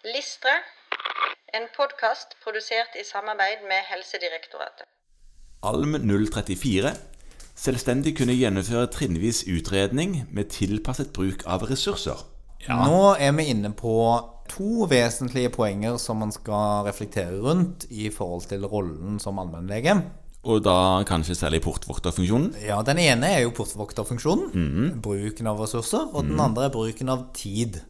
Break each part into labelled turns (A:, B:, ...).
A: Listre, en podkast produsert i samarbeid med Helsedirektoratet.
B: ALM 034. Selvstendig kunne gjennomføre trinnvis utredning med tilpasset bruk av ressurser.
C: Nå er vi inne på to vesentlige poenger som man skal reflektere rundt i forhold til rollen som allmennlege.
B: Og da kanskje særlig portvokterfunksjonen.
C: Ja, Den ene er jo portvokterfunksjonen, bruken av ressurser. Og den andre er bruken av tid.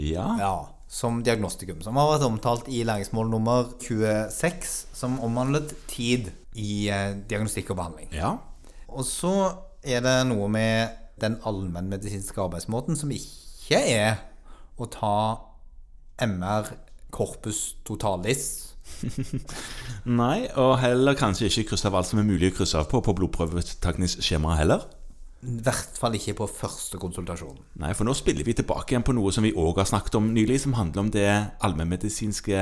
B: Ja.
C: Ja, Som diagnostikum. Som har vært omtalt i læringsmål nummer 26, som omhandlet tid i eh, diagnostikk og behandling.
B: Ja.
C: Og så er det noe med den allmennmedisinske arbeidsmåten som ikke er å ta MR corpus totalis.
B: Nei, og heller kanskje ikke krysse av alt som er mulig å krysse av på på blodprøvetakningsskjemaet heller.
C: I hvert fall ikke på første konsultasjon.
B: Nei, for nå spiller vi tilbake igjen på noe som vi òg har snakket om nylig, som handler om det allmennmedisinske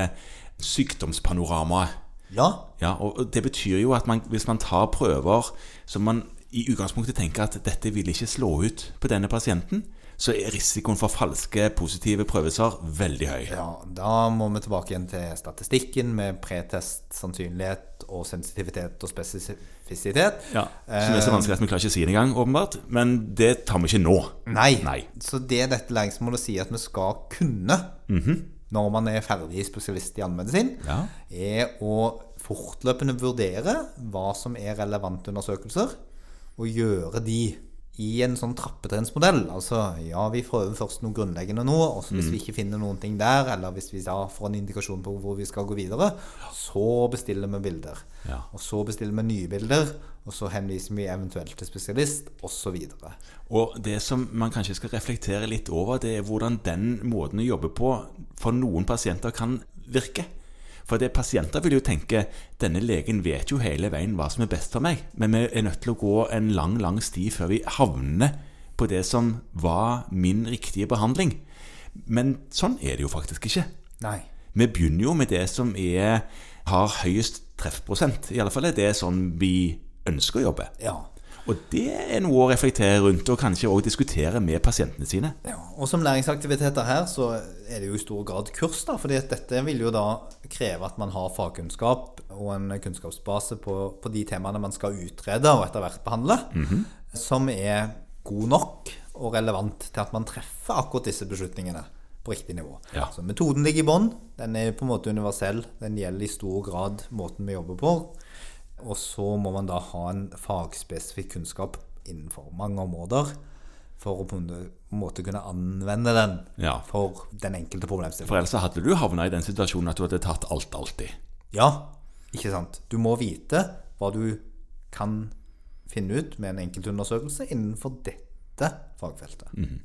B: sykdomspanoramaet.
C: Ja,
B: Ja, og det betyr jo at man, hvis man tar prøver som man i utgangspunktet tenker at dette vil ikke slå ut på denne pasienten, så er risikoen for falske positive prøvelser veldig høy.
C: Ja, da må vi tilbake igjen til statistikken med pretest, sannsynlighet og sensitivitet og spesifisitet.
B: Ja, Som er så vanskelig at vi klarer ikke å si det engang, åpenbart. Men det tar vi ikke nå.
C: Nei.
B: Nei.
C: Så det dette læringsmålet sier at vi skal kunne når man er ferdig spesialist i allmennmedisin,
B: Mhm. Ja.
C: er å fortløpende vurdere hva som er relevante undersøkelser, og gjøre de i en sånn trappetrinnsmodell. Altså ja, vi prøver først noe grunnleggende nå, og så hvis
B: Mhm.
C: vi ikke finner noen ting der, eller hvis vi da får en indikasjon på hvor vi skal gå videre, så bestiller vi bilder.
B: Ja.
C: Og så bestiller vi nye bilder, og så henviser vi eventuelt til spesialist, osv.
B: Og det som man kanskje skal reflektere litt over, det er hvordan den måten å jobbe på for noen pasienter kan virke. For det pasienter vil jo tenke denne legen vet jo hele veien hva som er best for meg, men vi er nødt til å gå en lang, lang sti før vi havner på det som var min riktige behandling. Men sånn er det jo faktisk ikke.
C: Nei.
B: Vi begynner jo med det som er, har høyest treffprosent. I alle fall er det sånn vi ønsker å jobbe.
C: Ja.
B: Og det er noe å reflektere rundt, og kanskje også diskutere med pasientene sine.
C: Ja, og som læringsaktiviteter her, så er det jo i stor grad kurs, da. fordi at dette vil jo da kreve at man har fagkunnskap og en kunnskapsbase på, på de temaene man skal utrede og etter hvert behandle, som er god nok og relevant til at man treffer akkurat disse beslutningene på riktig nivå.
B: Ja.
C: Så metoden ligger i bånn. Den er på en måte universell. Den gjelder i stor grad måten vi jobber på. Og så må man da ha en fagspesifikk kunnskap innenfor mange områder for å på en måte kunne anvende den
B: Ja.
C: for den enkelte
B: For
C: problemstillingen.
B: ellers så hadde du havna i den situasjonen at du hadde tatt alt alltid.
C: Ja, ikke sant? Du må vite hva du kan finne ut med en enkeltundersøkelse innenfor dette fagfeltet.